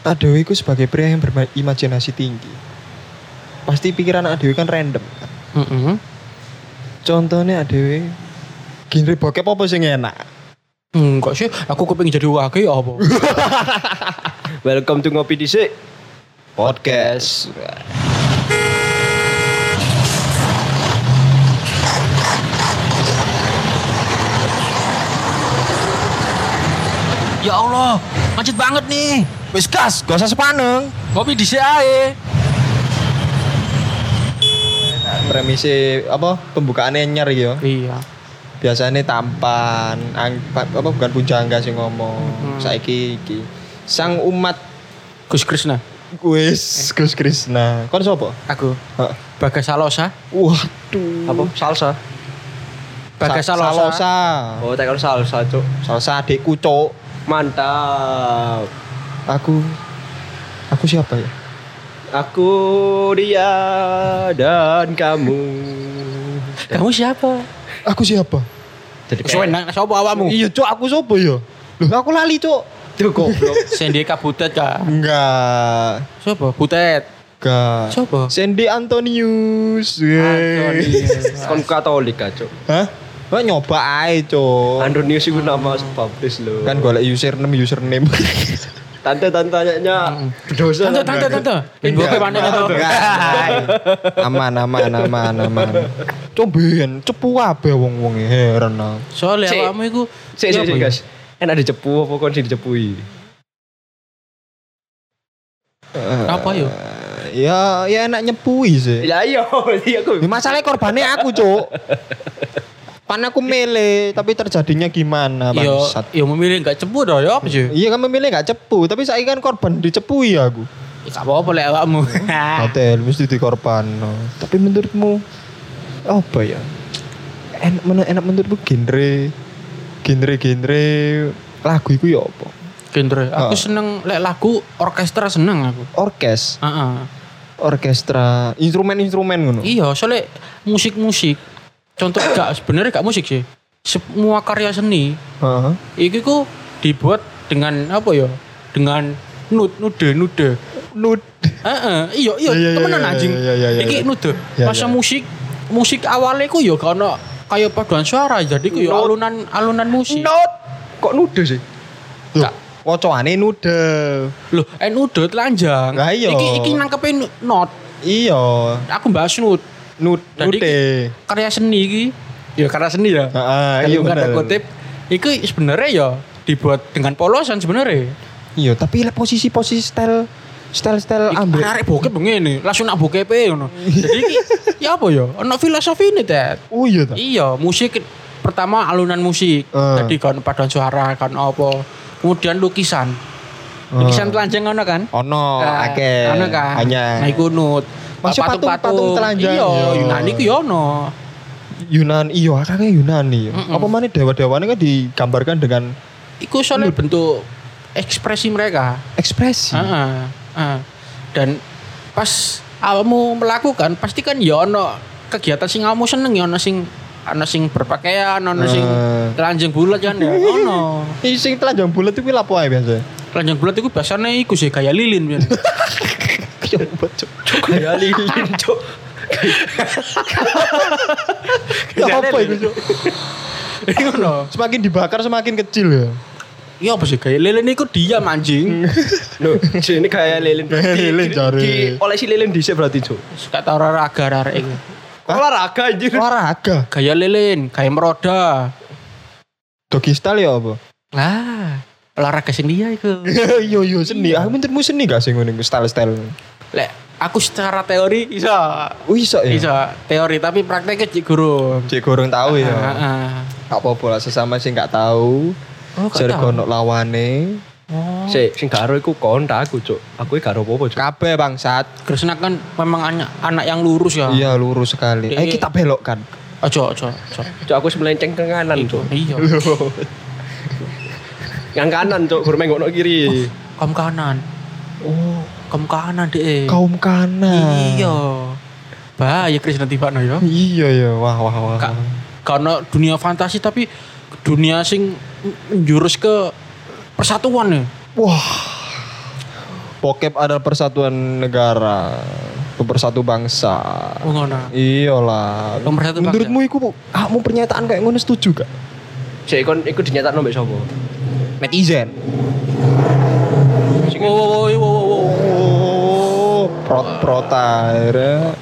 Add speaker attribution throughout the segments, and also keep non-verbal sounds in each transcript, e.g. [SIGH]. Speaker 1: Awak dhewe iku sebagai pria yang berimajinasi tinggi. Pasti pikiran awak dhewe kan random. kan.
Speaker 2: Mm-mm.
Speaker 1: Contohnya awak dhewe genre bokep apa sing enak?
Speaker 2: Hmm, kok sih aku kepengin jadi wakil ya apa?
Speaker 1: Welcome to Ngopi Dhisik Podcast.
Speaker 2: ya Allah, macet banget nih.
Speaker 1: Wis gas, gak usah sepaneng.
Speaker 2: Ngopi di CAE.
Speaker 1: Premise apa pembukaannya nyer iki yo.
Speaker 2: Iya.
Speaker 1: Biasanya tampan, ang, pa- apa bukan pujangga sih ngomong.
Speaker 2: Mhm.
Speaker 1: Saiki iki. Sang umat
Speaker 2: Gus Krisna.
Speaker 1: wis Gus Krisna. Kon sapa?
Speaker 2: Aku
Speaker 1: Eh. Hah.
Speaker 2: Bagas Salosa.
Speaker 1: Waduh.
Speaker 3: apa salsa
Speaker 2: Bagas
Speaker 1: Sa-
Speaker 2: Salosa.
Speaker 1: Salosa.
Speaker 3: oh tekan salsa cuk
Speaker 1: Salosa adikku, Cok.
Speaker 3: mantap
Speaker 1: Aku Aku siapa ya?
Speaker 3: aku dia dan kamu
Speaker 2: Kamu siapa?
Speaker 1: Aku siapa?
Speaker 3: jadi
Speaker 2: Wis enak sapa awakmu?
Speaker 1: Iya, Cok, aku sapa ya? Loh, aku lali, Cok.
Speaker 3: tuh goblok
Speaker 2: Sendi Kabutet ka.
Speaker 1: Enggak.
Speaker 2: Sapa? Butet.
Speaker 1: Enggak.
Speaker 2: Sapa?
Speaker 1: Sandy Antonius.
Speaker 2: iya.
Speaker 1: Yeay.
Speaker 3: [LAUGHS] kon katolik ah, cuk
Speaker 1: Hah? Wah nyoba ae, Cok.
Speaker 3: Andonius itu nama publish lo
Speaker 1: Oh. Kan golek username username.
Speaker 3: tante tantanya berdosa
Speaker 2: Tante, tante, tante. Iya. Ben boke pandai tante.
Speaker 1: Enggak. Aman aman aman aman. Cobain cepu abe wong-wong ya, heran aku.
Speaker 2: Soalnya
Speaker 3: Cik.
Speaker 2: awakmu iku Iya,
Speaker 3: sih sih
Speaker 2: apa ya?
Speaker 3: guys enak dicepu apa kon sih dicepui
Speaker 2: apa yo?
Speaker 1: Ya ya enak nyepui sih.
Speaker 3: ya iya [LAUGHS] iya aku
Speaker 1: [LAUGHS] Ya, masalahnya korbannya aku, Cuk. Pan aku milih, tapi terjadinya gimana,
Speaker 2: Yo,
Speaker 1: bangsat.
Speaker 2: yo Iya, memilih enggak cepu dah ya apa sih?
Speaker 1: Iya kan memilih gak cepu, tapi saya kan korban dicepui aku.
Speaker 2: Enggak apa-apa lek awakmu. Ah.
Speaker 1: Hotel mesti dikorban. Tapi menurutmu apa ya? Enak, men enak menurutmu genre genre genre lagu itu ya apa?
Speaker 2: Genre, aku
Speaker 1: Oh.
Speaker 2: seneng lek lagu orkestra seneng aku.
Speaker 1: Orkes,
Speaker 2: Heeh.
Speaker 1: orkestra, instrumen-instrumen ngono.
Speaker 2: Iya, soalnya musik-musik. Contoh gak sebenarnya gak musik sih. Semua karya seni
Speaker 1: Heeh.
Speaker 2: itu ku dibuat dengan apa ya? Dengan nude, nude, nude.
Speaker 1: Nude.
Speaker 2: Heeh, iya iya
Speaker 1: Iya, iya,
Speaker 2: temenan
Speaker 1: iya,
Speaker 2: anjing.
Speaker 1: iya, iya, iya,
Speaker 2: Iki
Speaker 1: iya.
Speaker 2: nude.
Speaker 1: Iya, iya.
Speaker 2: Masa musik musik awalnya ku ya gak ono kayak paduan suara jadi ku ya
Speaker 3: Note.
Speaker 2: alunan alunan musik.
Speaker 3: not kok nude sih
Speaker 1: Loh, Kocoane nude.
Speaker 2: Loh, eh nude telanjang.
Speaker 1: Lah, iya.
Speaker 2: Iki iki nangkepin not.
Speaker 1: Iya,
Speaker 2: Aku bahas nude
Speaker 1: nude.
Speaker 2: Dan iki-
Speaker 1: nude.
Speaker 2: karya seni iki. Ya karya seni ya.
Speaker 1: Heeh,
Speaker 2: Kalau
Speaker 1: iya
Speaker 2: nggak ada
Speaker 1: bener.
Speaker 2: kutip, itu sebenarnya ya dibuat dengan polosan sebenarnya.
Speaker 1: Iya, tapi lah posisi-posisi style style style
Speaker 2: Iku
Speaker 1: ambek.
Speaker 2: Arek bokep begini, langsung nak bokep e ngono. Jadi iki
Speaker 1: [LAUGHS]
Speaker 2: ya apa ya? Ono filosofi ini Ted.
Speaker 1: Oh iya ta.
Speaker 2: Iya, musik pertama alunan musik.
Speaker 1: Eh.
Speaker 2: Tadi kan paduan suara kan apa. Kemudian lukisan. Lukisan telanjang ono kan?
Speaker 1: Ono Ah. Oh,
Speaker 2: Nah,
Speaker 1: akeh.
Speaker 2: Ono kan?
Speaker 1: Hanya.
Speaker 2: Nah, iku nut.
Speaker 1: Masih patung-patung telanjang,
Speaker 2: Iya,
Speaker 1: iya.
Speaker 2: Yunani ku ya ono.
Speaker 1: Yunani iya kakek Yunani
Speaker 2: Mm-mm.
Speaker 1: apa mana dewa-dewanya kan digambarkan dengan
Speaker 2: Iku soalnya bentuk ekspresi mereka.
Speaker 1: ekspresi
Speaker 2: Heeh, heeh. Dan pas awakmu melakukan pasti kan ya ono kegiatan sing awakmu seneng ya ono sing ono sing berpakaian, ono sing
Speaker 1: Eh.
Speaker 2: telanjang bulat kan ya ono.
Speaker 1: Ih, sing telanjang bulat itu lapo ae
Speaker 2: [LAUGHS]
Speaker 1: biasa
Speaker 2: Telanjang bulat itu biasanya iku sih kayak lilin biyen.
Speaker 1: kayak obat cok
Speaker 3: kayak lilin cuk
Speaker 1: ya apa itu cok
Speaker 2: Iku ono.
Speaker 1: semakin dibakar semakin kecil ya
Speaker 2: [LAUGHS] Ya apa sih kayak lilin iku diam anjing.
Speaker 3: Loh, ini kayak lilin.
Speaker 1: Lilin,
Speaker 3: Di-
Speaker 1: jare.
Speaker 3: Di olesi lilin dhisik berarti, Cuk.
Speaker 2: Suka tau olahraga arek iku.
Speaker 3: Olahraga anjir.
Speaker 1: Oh. olahraga
Speaker 2: Gaya lilin, gaya meroda.
Speaker 1: doggy style ya apa [LAUGHS]
Speaker 2: Lah, olahraga sing dia iku.
Speaker 1: yo yo Iya, seni aku
Speaker 2: Iya.
Speaker 1: menurutmu seni gak sih ngono style style
Speaker 2: Lek aku secara teori iso.
Speaker 1: oh iso ya
Speaker 2: Iso teori tapi prakteknya cik gurung.
Speaker 1: cek gorong tahu ya
Speaker 2: Heeh.
Speaker 1: apa bola sesama sih gak tahu
Speaker 2: Oh, gak
Speaker 1: Jar
Speaker 2: tahu.
Speaker 1: kono lawane
Speaker 2: Oh.
Speaker 3: Sik, sing gak ero iku kontak aku, Cuk. Aku iki gak ero apa-apa, Cuk.
Speaker 1: kabeh bangsat
Speaker 2: Krisna kan memang anak, anak yang lurus ya.
Speaker 1: iya lurus sekali eh
Speaker 2: Ini-
Speaker 1: kita belokkan
Speaker 2: Ojo, ojo, ojo.
Speaker 3: Cuk, aku semelenceng ke kanan, Cuk.
Speaker 2: Iya.
Speaker 3: Yang kanan, Cuk, gur menggokno kiri.
Speaker 2: Kom kanan. Oh, kom kanan deh.
Speaker 1: kaum kanan
Speaker 2: Iya. Bahaya Krisna tiba no ya.
Speaker 1: Iya ya, wah wah wah.
Speaker 2: Ka- Karena dunia fantasi tapi dunia sing menjurus ke persatuan ya.
Speaker 1: Wah. Pokep adalah persatuan negara, pemersatu bangsa.
Speaker 2: Oh, ngono.
Speaker 1: Iya, Iyalah.
Speaker 2: Pemersatu bangsa.
Speaker 1: Menurutmu iku kamu pernyataan kayak ngono setuju gak?
Speaker 3: Cek kon iku dinyatakno mbek sapa?
Speaker 1: Netizen.
Speaker 2: Wow, wow, wow, wow, wow, wow.
Speaker 1: Oh, prot prota.
Speaker 2: [LAUGHS]
Speaker 1: akhirnya.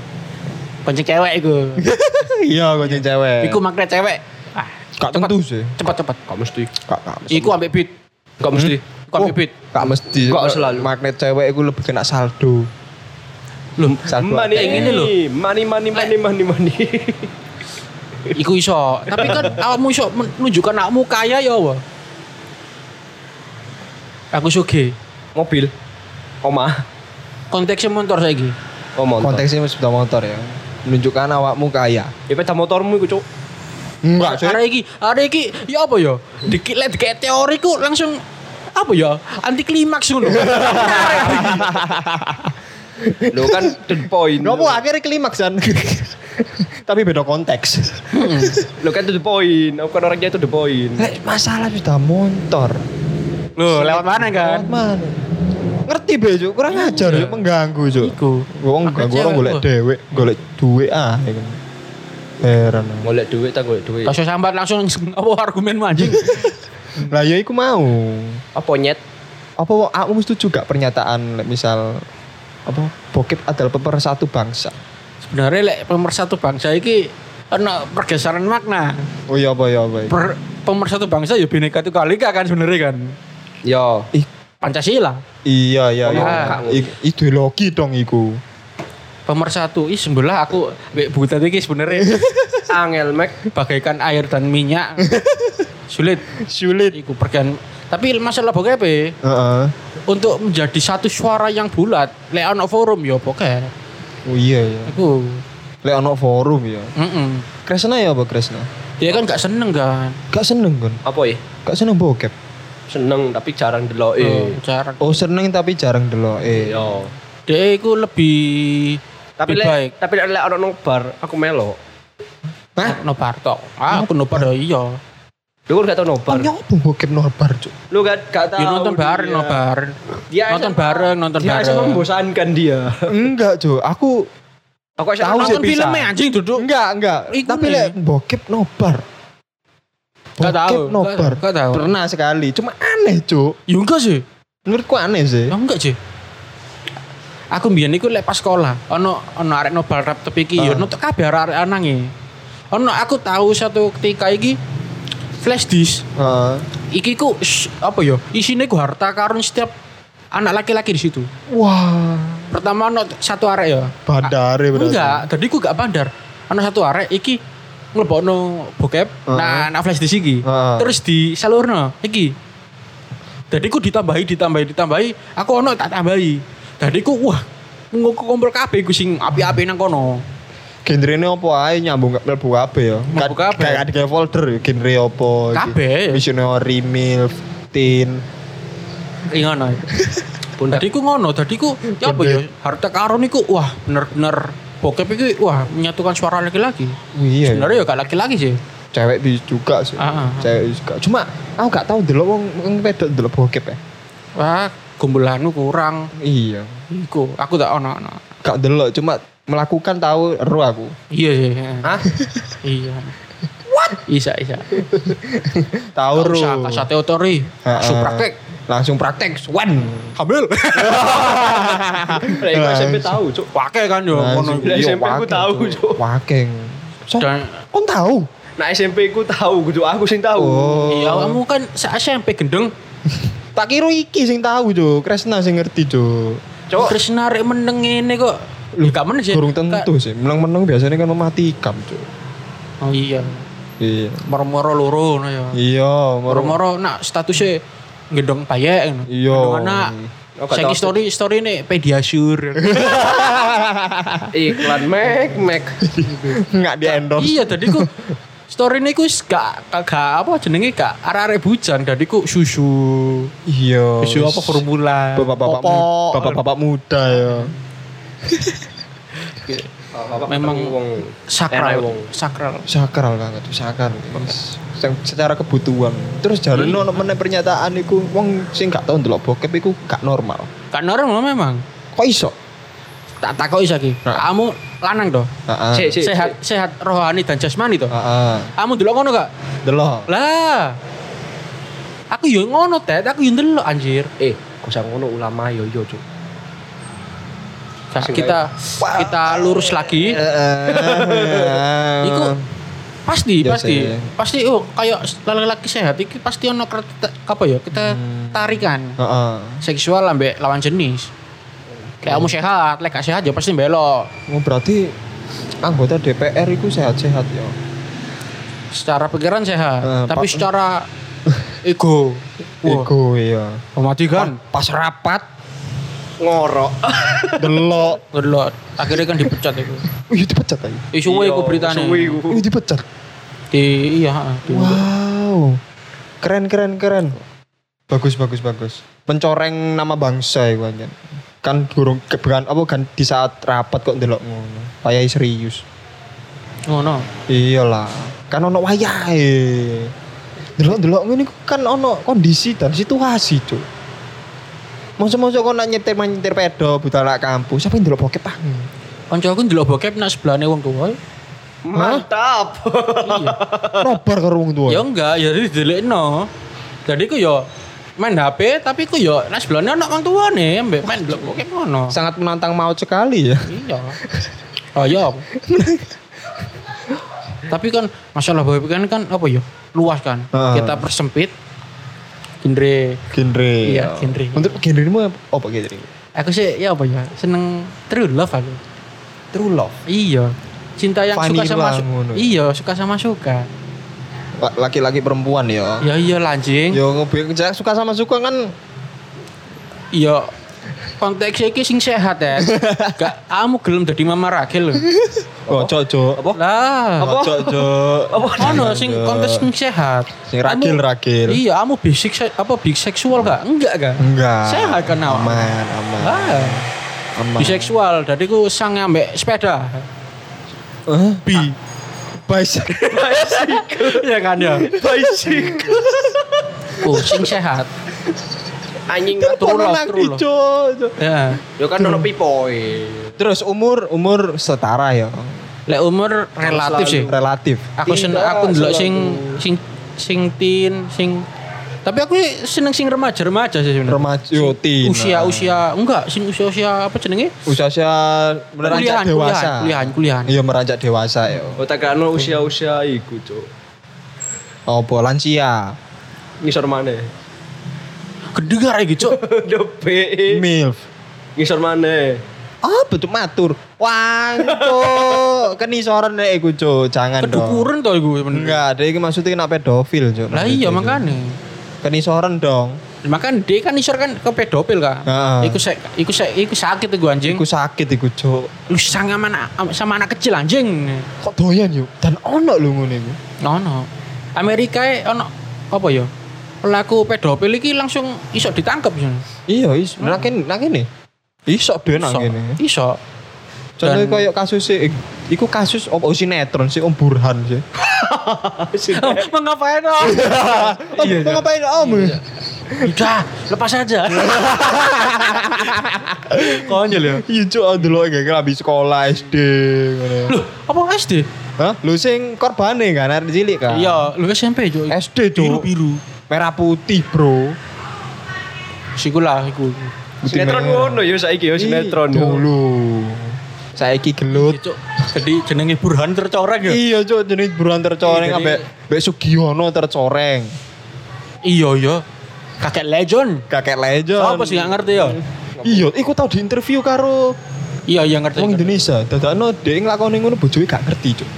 Speaker 2: Kencing cewek iku.
Speaker 1: Iya, gue cewek.
Speaker 2: Iku magnet cewek. Ah,
Speaker 1: Gak
Speaker 2: cepet.
Speaker 1: tentu sih.
Speaker 2: Cepet cepet.
Speaker 3: Kok mesti.
Speaker 1: Kak, kak.
Speaker 2: Iku ambek beat.
Speaker 1: Hmm?
Speaker 3: Kok mesti.
Speaker 2: Kok ambek beat.
Speaker 1: Kak Oh, mesti.
Speaker 3: Kok selalu?
Speaker 1: Magnet cewek iku lebih kena saldo.
Speaker 2: Loh,
Speaker 1: Saldo.
Speaker 3: Money
Speaker 2: Kayak gini loh.
Speaker 3: Money money money money money.
Speaker 2: iku iso. Tapi kan awakmu iso menunjukkan awakmu kaya ya apa? Aku sugih.
Speaker 3: Mobil. Omah.
Speaker 2: Konteksnya motor saiki.
Speaker 3: Oh motor.
Speaker 1: Konteksnya sepeda motor ya. Menunjukkan awakmu kaya.
Speaker 3: Ya peda motormu iku, Cuk.
Speaker 1: Enggak, cuy.
Speaker 2: Ada iki, ada iki, ya apa ya? Dikit lek kayak teori ku langsung apa ya? Anti klimaks ngono.
Speaker 3: Lo kan the point.
Speaker 1: Nopo akhirnya klimaks kan. [LAUGHS] Tapi beda konteks.
Speaker 3: Lo kan to the point. Aku kan orangnya itu the point.
Speaker 1: Lek masalah sudah motor.
Speaker 2: Loh, lewat mana kan?
Speaker 1: Lewat mana? Iya. Ngerti be Cuk, kurang ajar Cuk, mengganggu Cuk.
Speaker 2: Iku.
Speaker 1: Wong
Speaker 2: Magnet
Speaker 1: gak orang
Speaker 2: cewek,
Speaker 1: golek
Speaker 2: wah.
Speaker 1: dewek, golek duwe ah ya kan. Heran.
Speaker 3: Golek duit tak golek duit.
Speaker 2: Kasih sambat langsung apa argumen anjing.
Speaker 1: Lah ya iku mau.
Speaker 3: Apa nyet?
Speaker 1: Apa wong aku setuju gak pernyataan lek misal apa bokep adalah pemersatu bangsa.
Speaker 2: Sebenarnya lek pemersatu bangsa iki ana pergeseran makna.
Speaker 1: Oh iya apa ya apa. ya.
Speaker 2: Per, pemersatu bangsa ya bineka tunggal ika kan sebenarnya kan.
Speaker 3: Yo.
Speaker 1: Ih,
Speaker 2: Pancasila.
Speaker 1: iya iya
Speaker 2: Oh,
Speaker 1: iya.
Speaker 3: Ngomong gak ngono.
Speaker 1: I- Ideologi dong iku.
Speaker 2: Pemersatu, ih sembelah aku mbek butet iki sebenarnya
Speaker 3: Angel Mac.
Speaker 2: bagaikan air dan minyak. Sulit
Speaker 1: Sulit.
Speaker 2: iku pergian. Tapi masalah bokep
Speaker 1: Heeh.
Speaker 2: untuk menjadi satu suara yang bulat lek ono forum ya pokoknya
Speaker 1: Oh iya ya.
Speaker 2: aku
Speaker 1: Lek ono forum ya.
Speaker 2: mm
Speaker 1: Kresna ya apa Kresna?
Speaker 2: dia kan gak seneng kan
Speaker 1: Gak seneng kan?
Speaker 3: Apa ya?
Speaker 1: Gak seneng bokep.
Speaker 3: Seneng tapi jarang
Speaker 2: oh,
Speaker 3: delok e.
Speaker 2: cara
Speaker 1: Oh seneng tapi jarang delok. Eh.
Speaker 2: Iya.
Speaker 3: Yo.
Speaker 2: dia itu lebih
Speaker 3: Tapi
Speaker 2: lebih baik
Speaker 3: lek tapi lek ana nang bar aku melok.
Speaker 1: Hah?
Speaker 2: no parto ah, aku no parto iya
Speaker 3: Lu kan gak tau nobar.
Speaker 1: Tanya apa bokep nobar
Speaker 2: [LAUGHS]
Speaker 1: cuk?
Speaker 3: Lu gak gak tau.
Speaker 2: ya
Speaker 3: Ya,
Speaker 2: nonton bareng no bareng
Speaker 3: Dia
Speaker 2: nonton
Speaker 3: SMA.
Speaker 2: bareng nonton
Speaker 3: Dia
Speaker 2: bareng
Speaker 3: SMA membosankan dia.
Speaker 1: Enggak cuk, aku
Speaker 3: Aku SMA
Speaker 1: Tahu sih,
Speaker 2: nonton
Speaker 1: bisa.
Speaker 2: filmnya
Speaker 3: ya?
Speaker 2: anjing duduk
Speaker 1: enggak enggak.
Speaker 2: Iku
Speaker 1: tapi
Speaker 2: nih.
Speaker 1: lek bokep nobar.
Speaker 2: Gak tahu,
Speaker 1: Bokep nobar.
Speaker 2: gak- gak tahu.
Speaker 1: Pernah sekali, cuma aneh cuk.
Speaker 2: ya enggak sih
Speaker 1: Menurutku aneh sih.
Speaker 2: ya enggak sih aku mbiyen iku lek pas sekolah ono ono arek no bar rap tepi iki
Speaker 1: Ah.
Speaker 2: ya nutuk kabeh arek anange ono aku tahu satu ketika iki flash disk
Speaker 1: Heeh.
Speaker 2: iki ku sh- apa ya isinya ku harta karun setiap anak laki-laki di situ
Speaker 1: Wah,
Speaker 2: pertama ono satu arek ya
Speaker 1: badare berarti.
Speaker 2: enggak tadi ku gak bandar ono satu arek iki ngelebokno bokep
Speaker 1: Heeh.
Speaker 2: nah nah flash disk iki
Speaker 1: Heeh.
Speaker 2: terus di salurno iki tadi ku ditambahi ditambahi ditambahi aku ono tak tambahi tadi ku wah ngumpul kumpul kabeh ku sing api-api nang kono
Speaker 1: Genrene apa ae nyambung gak mlebu kabeh ya.
Speaker 2: Mlebu kabeh.
Speaker 1: Kayak ada kayak folder ya, genre apa iki.
Speaker 2: Kabeh. ya.
Speaker 1: Missionary milf teen.
Speaker 2: Iya
Speaker 1: [LAUGHS]
Speaker 2: ngono. Tadi ku ngono, tadi ku ya apa ya? Harta karun iku wah bener-bener bokep iku wah menyatukan suara laki-laki.
Speaker 1: Wih, iya.
Speaker 2: Sebenarnya ya gak laki-laki sih.
Speaker 1: cewek bi juga sih.
Speaker 2: Ah, ah, ah.
Speaker 1: Cewek juga. Cuma aku gak tahu delok wong wong wedok delok bokep ya.
Speaker 2: Wah, gombolanku kurang.
Speaker 1: Iya.
Speaker 2: Iku aku tak ono ono.
Speaker 1: Gak delok cuma melakukan tahu ero aku.
Speaker 2: Iya sih.
Speaker 1: [LAUGHS]
Speaker 3: Hah?
Speaker 2: Iya. What? Isa isa.
Speaker 1: Tahu ero.
Speaker 2: Usah kasate otori.
Speaker 1: Ah,
Speaker 2: Langsung
Speaker 1: ah.
Speaker 2: praktek.
Speaker 1: Langsung praktek swan.
Speaker 2: Hamil. [LAUGHS]
Speaker 3: Lek
Speaker 2: Nah,
Speaker 3: aku SMP tahu, Cuk.
Speaker 2: Pakai kan yo ngono.
Speaker 1: Langsung.
Speaker 3: Lah,
Speaker 1: Iya,
Speaker 3: SMP ku
Speaker 1: wakeng,
Speaker 3: tahu, Cuk.
Speaker 1: Wakeng. Sok,
Speaker 2: Dan
Speaker 1: kon tahu?
Speaker 3: Nah SMP ku tahu, kudu aku sing tahu.
Speaker 2: iya kamu kan se SMP gendeng.
Speaker 1: Tak kira iki sing tahu, Cuk. Kresna sing ngerti, Cuk.
Speaker 3: Cuk,
Speaker 2: Krisna rek meneng ngene kok. Lu gak meneng sih.
Speaker 1: Kurung
Speaker 2: Gak-
Speaker 1: tentu sih. Menang-menang biasanya kan mematikan, Cuk.
Speaker 2: Oh iya.
Speaker 1: Iya.
Speaker 2: Moro-moro loro ngono ya.
Speaker 1: Iya, [LAUGHS] moro-
Speaker 2: Moro-moro nak statusnya gendong payek ngono.
Speaker 1: Iya.
Speaker 2: Gendong anak.
Speaker 3: Oh, gak
Speaker 2: Saiki
Speaker 3: tau.
Speaker 2: story story nih Pediasure.
Speaker 3: iklan Mac Mac.
Speaker 1: Enggak di endorse.
Speaker 2: iya tadi ku story ini ku s- gak gak- gak apa jenenge gak arek-arek bujang tadi ku susu.
Speaker 1: Iya.
Speaker 2: Susu apa formula.
Speaker 1: Bapak-bapak
Speaker 2: Popok.
Speaker 1: mu- bapak-bapak muda ya.
Speaker 3: Bapak
Speaker 2: Memang
Speaker 3: wong
Speaker 2: sakral
Speaker 3: Enak wong.
Speaker 2: sakral.
Speaker 1: Sakral banget, sakral. se- secara kebutuhan terus
Speaker 2: Iya.
Speaker 1: jalan ono meneh pernyataan iku wong sing gak tau ndelok bokep iku gak normal
Speaker 2: Kan normal memang.
Speaker 1: kok iso
Speaker 2: Tak takoki saiki.
Speaker 1: Nah.
Speaker 2: Kamu lanang toh?
Speaker 1: heeh
Speaker 3: Cek, cek.
Speaker 2: Sehat sehat rohani dan jasmani toh?
Speaker 1: heeh
Speaker 2: Kamu delok ngono gak?
Speaker 1: delok
Speaker 2: Lah. Aku yo ngono tet, aku yo ndelok anjir.
Speaker 3: Eh, kok sang ngono ulama yo yo cuk.
Speaker 2: Nah, kita kita lurus lagi. Iya. Iku
Speaker 1: Eh,
Speaker 2: pasti
Speaker 1: Ya,
Speaker 2: pasti
Speaker 1: sih.
Speaker 2: pasti oh kayak laki-laki sehat iki pasti ono ker- te- apa ya kita
Speaker 1: Hmm.
Speaker 2: tarikan
Speaker 1: heeh
Speaker 2: seksual ambek lawan jenis. Kayak kamu sehat, lek gak sehat ya pasti belok.
Speaker 1: Oh, berarti anggota DPR iku sehat-sehat ya
Speaker 2: Secara pikiran sehat,
Speaker 1: Eh,
Speaker 2: tapi
Speaker 1: Pak- [LAUGHS]
Speaker 2: secara ego. Wah, oh, kan?
Speaker 1: iku iya
Speaker 2: mematikan.
Speaker 1: pas rapat
Speaker 3: Ngorok.
Speaker 1: delok
Speaker 2: Ngedelok. Akhirnya kan dipecat itu.
Speaker 1: wih dipecat aja
Speaker 2: Isu wae
Speaker 3: Iya,
Speaker 2: iku beritane.
Speaker 3: suwe iku.
Speaker 1: wih dipecat
Speaker 2: Di iya, ha, di-
Speaker 1: Wow. Keren keren keren. Bagus bagus bagus. Pencoreng nama bangsa iku anjen. Kan gurung kebekan apa kan di saat rapat kok ndelok ngono. Wayahe serius.
Speaker 2: ngono.
Speaker 1: Iyalah. Kan ono wayahe. Delok-delok ngene iku kan ono kondisi dan situasi, Cuk. Masa-masa kok nak nyetir nyetir pedo buta anak kampus, sampe ndelok bokep pang.
Speaker 2: Kanca aku ndelok bokep nak sebelahne wong tuwa.
Speaker 3: Mantap. [LAUGHS]
Speaker 2: Iya.
Speaker 1: Nobar karo wong tuwa.
Speaker 2: Ya enggak, ya didelekno. Jadi ku yo main HP tapi ku yo nek sebelahnya anak orang tua nih mbek main blok bokep ngono.
Speaker 1: Sangat menantang maut sekali ya.
Speaker 2: Iya. Oh iya. tapi kan masalah bokep kan kan apa yo? Luas kan.
Speaker 1: Ah.
Speaker 2: Kita persempit genre
Speaker 1: Genre. Ya.
Speaker 2: Iya, genre.
Speaker 1: Untuk genremu apa genre?
Speaker 2: aku sih ya apa ya seneng true love aku
Speaker 1: True love.
Speaker 2: iya cinta yang suka
Speaker 1: Vanilla
Speaker 2: sama
Speaker 1: ngono. ya?
Speaker 2: suka iya suka sama suka
Speaker 1: La- laki-laki perempuan ya.
Speaker 2: ya iya lanjing
Speaker 1: Ya ngobrol kerja suka sama suka kan
Speaker 2: iya konteksnya iki sing sehat
Speaker 1: [LAUGHS]
Speaker 2: ya gak kamu gelem dadi mama ragil lho
Speaker 1: cocok Oh, cok. Apa?
Speaker 2: lah
Speaker 1: Cocok cok.
Speaker 2: ono sing konteks sing sehat
Speaker 1: Sing ragil
Speaker 2: Kamu-
Speaker 1: ragil. Hmm.
Speaker 2: iya kamu bisik se- apa biseksual gak enggak gak
Speaker 1: Enggak.
Speaker 2: sehat kan awak
Speaker 1: Aman aman.
Speaker 2: lah
Speaker 1: Aman.
Speaker 2: biseksual jadi ku sang ambek
Speaker 1: [LAUGHS]
Speaker 2: sepeda
Speaker 1: Hah? Bi. Bicycle.
Speaker 2: iya kan ya
Speaker 1: Bicycle.
Speaker 2: oh sing sehat
Speaker 3: Anjing.
Speaker 2: True love,
Speaker 1: Potongan
Speaker 2: true love.
Speaker 1: hijau, cok.
Speaker 2: ya
Speaker 3: Yo kan ono pipoe.
Speaker 1: Terus umur umur setara ya.
Speaker 2: lek umur relatif sih
Speaker 1: Relatif.
Speaker 2: aku
Speaker 1: Iya,
Speaker 2: seneng
Speaker 3: Tidak,
Speaker 2: aku ndelok
Speaker 3: selalu.
Speaker 2: sing sing sing teen sing tapi aku seneng sing remaja remaja sih sebenarnya
Speaker 1: Remaja yo, teen.
Speaker 2: usia usia enggak sing usia usia apa jenenge
Speaker 1: usia
Speaker 2: Kuliahan,
Speaker 1: meranjak dewasa.
Speaker 2: kuliahan, kulihan, kuliahan.
Speaker 1: Iya meranjak dewasa ya.
Speaker 3: Otak Oh, ono usia-usia iku cuk.
Speaker 1: Apa lansia?
Speaker 3: Ngisor mana? [LAUGHS]
Speaker 2: kedengar iki cuk
Speaker 3: Dope.
Speaker 1: MILF.
Speaker 3: Ngisor mana?
Speaker 1: Ah, betul matur. Wanto,
Speaker 2: [LAUGHS]
Speaker 1: kenisoran nek iku, Cuk. Jangan Kan dong.
Speaker 2: kedukuran to iku sebenarnya
Speaker 1: Enggak, gitu. dia iki maksudnya kena pedofil, Cuk.
Speaker 2: lah
Speaker 1: Maksudnya,
Speaker 2: iya
Speaker 1: Cuk.
Speaker 2: makane
Speaker 1: Kenisoran dong.
Speaker 2: makan dia kan isor kan ke pedofil kan
Speaker 1: Heeh.
Speaker 2: iku sek iku sek iku sakit iku anjing
Speaker 1: Iku sakit iku, Cuk.
Speaker 2: lu sang sama anak sama anak kecil anjing
Speaker 1: Kok doyan yuk? Dan ono lho ngene iku.
Speaker 2: no no Amerika e ono apa ya pelaku pedofil iki langsung iso ditangkep ya
Speaker 1: Iya, iso. Nah kene, nah kene. Iso ben nang
Speaker 2: iso
Speaker 1: kene. [LAUGHS]
Speaker 2: [LAUGHS] iso
Speaker 1: Contohnya
Speaker 2: Dan-
Speaker 1: koyo kasus sih, iku kasus Oh, opo sinetron sih Om Burhan sih.
Speaker 2: mengapain
Speaker 1: [LAUGHS]
Speaker 2: dong Ah,
Speaker 1: Om,
Speaker 2: iya,
Speaker 1: mau ngapain Om?
Speaker 2: udah lepas aja
Speaker 1: [LAUGHS] Konyol ya. Iya, Cuk, ndelok gak habis sekolah SD ngono.
Speaker 2: loh apa SD
Speaker 1: Hah? Lu sing korbane kan arek cilik kan?
Speaker 2: iya lu SMP cuy
Speaker 1: SD
Speaker 2: biru
Speaker 1: cuk.
Speaker 2: biru
Speaker 1: Merah putih bro.
Speaker 2: siku lah iku
Speaker 1: Putih
Speaker 3: Sinetron
Speaker 1: merah.
Speaker 3: ngono yo saiki yo sinetron.
Speaker 1: Ih, dulu. Saiki gelut.
Speaker 2: Cuk, jadi jenenge Burhan tercoreng ya
Speaker 1: Iya cuk jenis buruan tercoreng
Speaker 2: Iya, jadi-
Speaker 1: ambek ambek Sugiono tercoreng.
Speaker 2: iya iya kakek legend
Speaker 1: Kakek legend.
Speaker 2: apa sih gak ngerti ya
Speaker 1: Iya, iku tau di interview karo
Speaker 2: iya iya ngerti
Speaker 1: wong
Speaker 2: ngerti.
Speaker 1: Indonesia. Dadakno dhek nglakoni ngono bojoe gak ngerti cuk.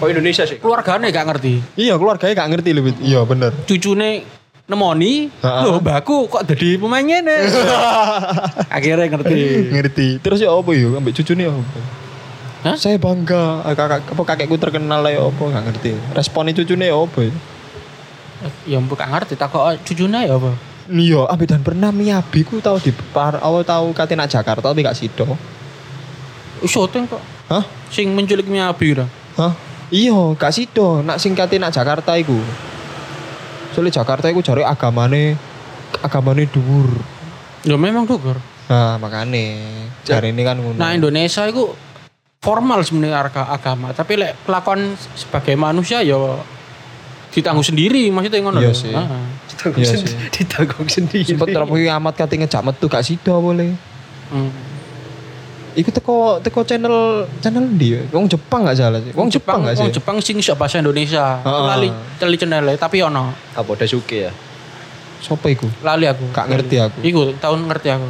Speaker 3: Oh Indonesia sih.
Speaker 2: keluargane gak ngerti
Speaker 1: Iya, keluarganya gak ngerti lebih. Iya, bener.
Speaker 2: cucune nemoni
Speaker 1: Ha-ha.
Speaker 2: lho mbakku kok jadi pemainnya [LAUGHS] nih akhirnya ngerti
Speaker 1: [LAUGHS] ngerti. Terus ya apa yuk ambek cucune ya apa?
Speaker 2: Iya. Hah?
Speaker 1: Saya bangga Eh, kakak apa kakekku terkenal lah ya apa gak ngerti. Responnya cucune ya apa? ya?
Speaker 2: ya mbok gak ngerti tak kok cucune ya apa
Speaker 1: Iya, abe dan pernah miyabi ku tahu di par, awal tahu kate nak Jakarta tapi gak sido.
Speaker 2: syuting kok
Speaker 1: Hah?
Speaker 2: sing menculik Miyabi ora
Speaker 1: Hah? Iya, gak sido. Nak sing kate nak Jakarta iku. Soalnya Jakarta iku jare agamane agamane dhuwur.
Speaker 2: Ya memang Dugur.
Speaker 1: Nah, makane jare ini kan ngono.
Speaker 2: Nah Indonesia itu formal sebenarnya arga- agama, tapi lek kelakuan sebagai manusia ya ditanggung sendiri maksudnya ngono
Speaker 1: Iya
Speaker 2: lho. Ah,
Speaker 1: sih.
Speaker 2: Heeh.
Speaker 3: Ditanggung
Speaker 1: Iya
Speaker 3: sen-
Speaker 1: sih.
Speaker 3: ditanggung sendiri.
Speaker 1: Sempet rapi amat kate ngejak metu gak sida boleh.
Speaker 2: Hmm.
Speaker 1: Iku teko teko channel channel dia. Wong Jepang gak salah sih. Wong Jepang gak sih? Ah,
Speaker 2: Wong Jepang sing iso bahasa Indonesia.
Speaker 1: Heeh.
Speaker 2: Lali teli cendele tapi ono.
Speaker 3: Apa udah suke Ah, ya?
Speaker 1: Sopo iku?
Speaker 2: Lali aku.
Speaker 1: Gak ngerti aku.
Speaker 2: Iku tahun ngerti aku.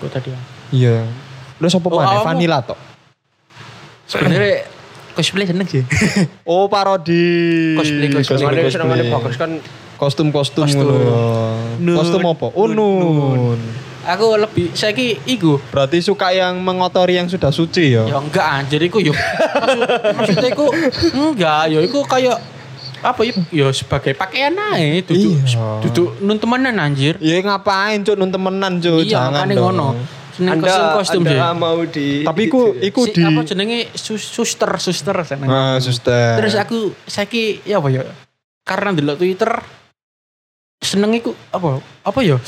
Speaker 2: Aku tadi.
Speaker 1: Iya. Lu sopo
Speaker 2: Oh,
Speaker 1: maneh
Speaker 2: awakmu-
Speaker 1: Vanilla tok.
Speaker 2: Sebenarnya cosplay seneng sih.
Speaker 1: Oh parodi.
Speaker 2: Cosplay, cosplay.
Speaker 1: Cosplay,
Speaker 3: Senengane senengane
Speaker 1: cosplay.
Speaker 3: bagus kan
Speaker 1: Kostum-kostum
Speaker 2: Kostum.
Speaker 1: ngono.
Speaker 2: Nun.
Speaker 1: Kostum apa? Oh
Speaker 2: Nun.
Speaker 1: nun.
Speaker 2: Aku lebih saya ki iku.
Speaker 1: Berarti suka yang mengotori yang sudah suci ya.
Speaker 2: Ya enggak anjir iku yo. Maksud- Maksudnya iku enggak yo iku kayak apa ya yo sebagai pakaian ae duduk
Speaker 1: Iya.
Speaker 2: duduk nun temenan anjir.
Speaker 1: Ya
Speaker 2: Iya,
Speaker 1: ngapain cuk nun temenan cuk, Iya, jangan
Speaker 2: makanya
Speaker 1: dong.
Speaker 2: ngono. Seneng
Speaker 3: Anda
Speaker 2: kostum kostum sih.
Speaker 3: Anda mau di
Speaker 1: Tapi iku iku
Speaker 2: Si,
Speaker 1: di
Speaker 2: apa jenenge sus- suster suster seneng.
Speaker 1: Nah, suster.
Speaker 2: Terus aku saiki ya apa ya? Karena delok Twitter seneng iku apa? Apa ya?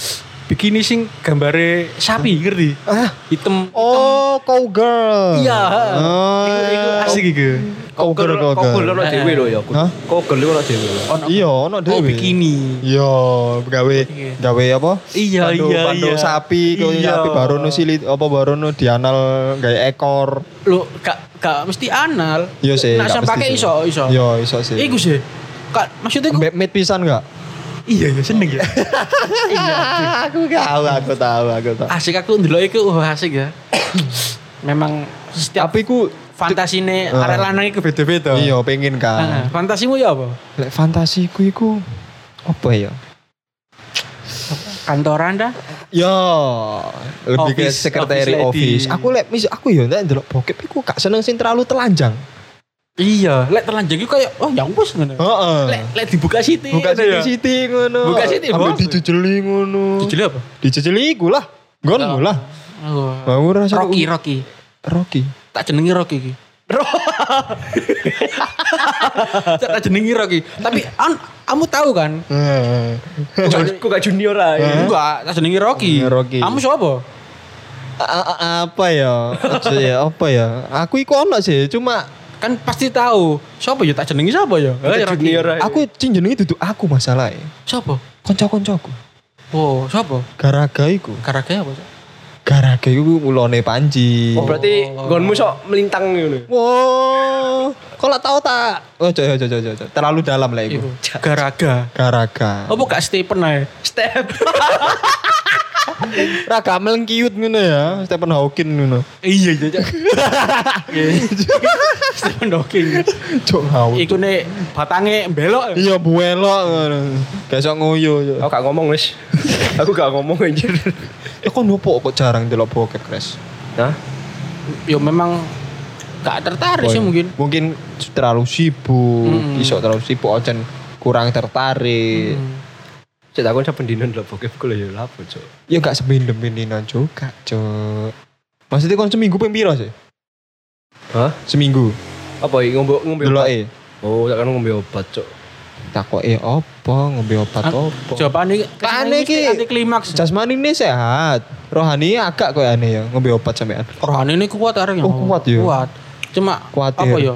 Speaker 2: Bikini sing gambare sapi ngerti?
Speaker 1: Ah.
Speaker 2: Hitam.
Speaker 1: Oh, cowgirl.
Speaker 2: Iya.
Speaker 1: Oh,
Speaker 2: Iku- iku asik
Speaker 1: iku. Cowgirl,
Speaker 3: Kogel Eh,
Speaker 1: cowgirl.
Speaker 2: Eh,
Speaker 3: ono dhewe lho ya.
Speaker 1: Hah?
Speaker 3: Kogel ono dhewe. lho.
Speaker 2: Ono-
Speaker 1: Iya, ono
Speaker 2: Oh,
Speaker 1: dhewe.
Speaker 2: bikini.
Speaker 1: Iya, gawe gawe apa?
Speaker 2: Iya
Speaker 1: Pandu,
Speaker 2: iya
Speaker 1: pandu
Speaker 2: iya.
Speaker 1: sapi, kalau
Speaker 2: Iya.
Speaker 1: sapi barono silit apa barono dianal gawe ekor.
Speaker 2: Lo gak gak mesti anal.
Speaker 1: Iya sih.
Speaker 2: Nak
Speaker 1: gak
Speaker 2: sampe
Speaker 1: mesti
Speaker 2: pakai
Speaker 1: sih.
Speaker 2: iso iso.
Speaker 1: Iya, iso sih.
Speaker 2: Iku sih. Kak, maksudnya iku-
Speaker 1: Mbak Mit pisan enggak?
Speaker 2: iya iya seneng ya.
Speaker 1: aku tahu, aku tahu, aku tahu.
Speaker 2: [LAUGHS] asik aku ndelok iku wah asik
Speaker 1: [COUGHS]
Speaker 2: ya. Memang setiap
Speaker 1: Tapi ku
Speaker 2: fantasine
Speaker 1: Ah.
Speaker 2: arek lanang iku beda-beda.
Speaker 1: iya pengen
Speaker 2: Ah,
Speaker 1: kan.
Speaker 2: fantasimu ya apa?
Speaker 1: Lek fantasiku iku apa ya?
Speaker 2: Kantoran dah?
Speaker 1: Ya, lebih ke
Speaker 2: Office-
Speaker 1: sekretari office.
Speaker 2: office lady.
Speaker 1: Aku lek mis aku ya ndak ndelok bokep iku gak seneng sing terlalu telanjang.
Speaker 2: Iya, lek telanjang iku kayak oh ya wis ngono.
Speaker 1: Heeh.
Speaker 2: Lek lek dibuka siti.
Speaker 1: Ah. Buka
Speaker 2: ngono ya.
Speaker 1: siti-siti ngono.
Speaker 2: Buka siti,
Speaker 1: Ambil
Speaker 2: bos.
Speaker 1: dijejeli ngono.
Speaker 2: Dijeli apa?
Speaker 1: Dijejeli iku lah. Gonmu lah.
Speaker 2: Oh.
Speaker 1: Mau rasa
Speaker 2: Rocky, Rocky.
Speaker 1: Rocky.
Speaker 2: Tak jenengi Rocky iki. [LAUGHS] tak jenengi Rocky. Tapi an, kamu tahu kan?
Speaker 1: Heeh.
Speaker 2: Johnny-
Speaker 3: Kok gak junior ya? ae.
Speaker 2: Eh? Enggak, tak jenengi Rocky.
Speaker 1: Jenengi Rocky.
Speaker 2: Kamu siapa?
Speaker 1: A- a- apa ya? Aja ya, apa ya? Aku iku ono sih, cuma
Speaker 2: Kan pasti tahu. Siapa ya tak jenengi siapa ya? Eh, Rocky.
Speaker 3: Junior ae.
Speaker 1: aku sing jenenge duduk aku e. masalahe.
Speaker 2: Siapa?
Speaker 1: Kanca-kancaku.
Speaker 2: Oh, siapa?
Speaker 1: Garaga iku.
Speaker 2: Karagaya apa?
Speaker 1: Garaga iku ulone Panji.
Speaker 3: Oh berarti gonmu sok melintang ngono.
Speaker 1: Wow, kalau tahu tak? Oh, coba, coba, coba, coba. Terlalu dalam lah itu.
Speaker 2: Iku. Oh. Garaga.
Speaker 1: Garaga.
Speaker 2: Apa gak Stephen ae?
Speaker 3: Step.
Speaker 1: Raga melengkiut ngono ya, Stephen Hawking ngono.
Speaker 2: [LAUGHS] Iya iya. iya.
Speaker 3: Iya.
Speaker 2: [LAUGHS] Stephen Hawking.
Speaker 1: Cok ngau.
Speaker 2: Iku nih batangnya belok.
Speaker 1: Iya buelok ngono. Besok nguyu. Cuk.
Speaker 2: Oh.
Speaker 3: Aku gak ngomong wis. [LAUGHS] Aku gak ngomong anjir.
Speaker 1: Ya kok nopo kok jarang delok bokep, Kres?
Speaker 3: Hah?
Speaker 2: Ya memang gak tertarik
Speaker 1: Boy.
Speaker 2: sih ya mungkin.
Speaker 1: Mungkin terlalu sibuk,
Speaker 2: Mm-mm.
Speaker 1: iso terlalu sibuk ojen kurang
Speaker 3: Iya.
Speaker 1: tertarik.
Speaker 2: Hmm.
Speaker 3: Cek takon saben dino lho bokep ku lho ya lapo, Cuk.
Speaker 1: Ya gak sebindem-bindinan juga, Cuk. Maksudnya kon seminggu ping piro sih?
Speaker 3: Hah?
Speaker 1: Seminggu.
Speaker 3: Apa iki ngombe ngombe obat?
Speaker 1: Deloke.
Speaker 3: Oh, tak kan ngombe obat, Cuk.
Speaker 1: Takoke opo, ngombe obat
Speaker 2: An-
Speaker 1: opo?
Speaker 2: Jawaban ini
Speaker 1: Apaan iki?
Speaker 2: anti klimaks.
Speaker 1: Jasmani ini sehat, rohani agak kayak aneh ya, ngombe obat sampean.
Speaker 2: Rohani ini kuat arek ya.
Speaker 1: Oh, kuat ya?
Speaker 2: Kuat. Cuma
Speaker 1: Kuatir.
Speaker 2: apa ya?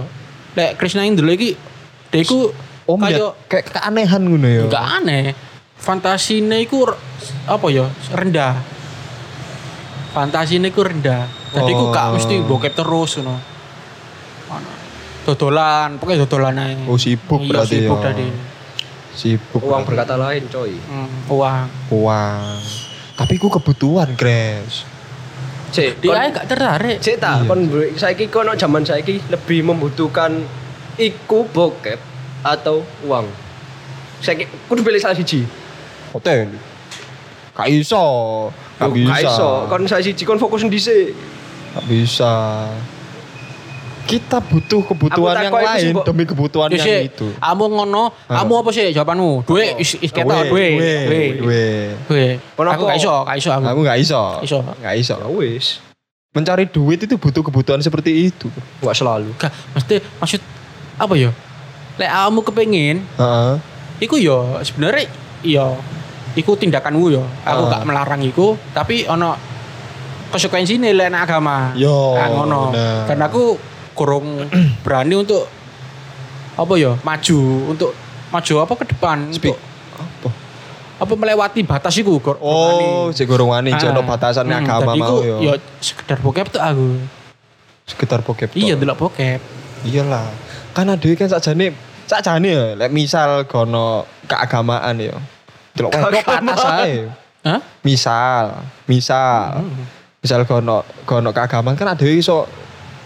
Speaker 2: Lek Krishna ini dulu iki deku
Speaker 1: Om ya, kayak keanehan ngono ya.
Speaker 2: gak aneh. Fantasine iku r- apa ya? Rendah. Fantasine iku rendah. Jadi iku
Speaker 1: Oh.
Speaker 2: gak mesti bokep terus ngono. Ono. Dodolan, pokoknya dodolan aja.
Speaker 1: Oh, sibuk
Speaker 2: Iya,
Speaker 1: berarti
Speaker 2: sibuk
Speaker 1: ya.
Speaker 2: tadi.
Speaker 1: Sibuk.
Speaker 3: Uang
Speaker 1: berarti.
Speaker 3: berkata lain, coy.
Speaker 2: Hmm, uang.
Speaker 1: Uang. Tapi ku kebutuhan, Grace.
Speaker 3: Cek,
Speaker 2: Dia
Speaker 3: kon-
Speaker 2: aja gak tertarik.
Speaker 3: Cek ta,
Speaker 1: Iya.
Speaker 3: kon bu- saiki kono zaman saiki lebih membutuhkan iku bokep atau uang. Saiki kudu pilih salah siji.
Speaker 1: Hotel. Gak iso. Gak
Speaker 3: Yo,
Speaker 1: bisa.
Speaker 3: gak iso. Kon salah siji kon fokus dhisik.
Speaker 1: Gak bisa. Kita butuh kebutuhan
Speaker 3: Aku
Speaker 1: yang
Speaker 3: takut, aku
Speaker 1: lain
Speaker 3: sibuk.
Speaker 1: demi kebutuhan
Speaker 2: Ya,
Speaker 1: yang
Speaker 2: sih,
Speaker 1: itu.
Speaker 2: Kamu ngono, kamu apa sih jawabanmu? Duit, is, is kata duit,
Speaker 1: Duwe,
Speaker 2: duit,
Speaker 1: duwe.
Speaker 2: duit.
Speaker 3: Kon
Speaker 2: Aku
Speaker 3: apa?
Speaker 2: gak iso, gak iso aku.
Speaker 1: Kamu gak iso.
Speaker 2: Iso.
Speaker 1: Gak iso.
Speaker 3: Ya wis,
Speaker 1: Mencari duit itu butuh kebutuhan seperti itu.
Speaker 3: gak selalu.
Speaker 2: Gak, mesti maksud apa ya? Lek kamu kepengin
Speaker 1: Heeh.
Speaker 2: iku yo sebenarnya yo iku tindakanmu yo aku
Speaker 1: Ah.
Speaker 2: gak melarang iku tapi ono konsekuensi nilai agama
Speaker 1: Yo,
Speaker 2: Ah, ngono
Speaker 1: bener.
Speaker 2: dan aku
Speaker 1: [CLEARS THROAT]
Speaker 2: kurang berani untuk apa yo maju untuk maju apa ke depan untuk
Speaker 1: Speak. Apa?
Speaker 2: apa melewati batas iku gor-
Speaker 1: Oh,
Speaker 2: gormani.
Speaker 1: cek gorong wani,
Speaker 2: Ah.
Speaker 1: cek ono batasan
Speaker 2: Hmm,
Speaker 1: agama
Speaker 2: tadi iku
Speaker 1: mau yo.
Speaker 2: yo sekedar bokep tuh aku
Speaker 1: Sekitar bokep. tok.
Speaker 2: iya delok bokep
Speaker 1: Iyalah. Kan ada kan sakjane sakjane ya, lek misal gono keagamaan ya. Delok wedok patas ae.
Speaker 2: Hah?
Speaker 1: Misal, misal.
Speaker 2: Hmm,
Speaker 1: Misal gono gono keagamaan kan ada iso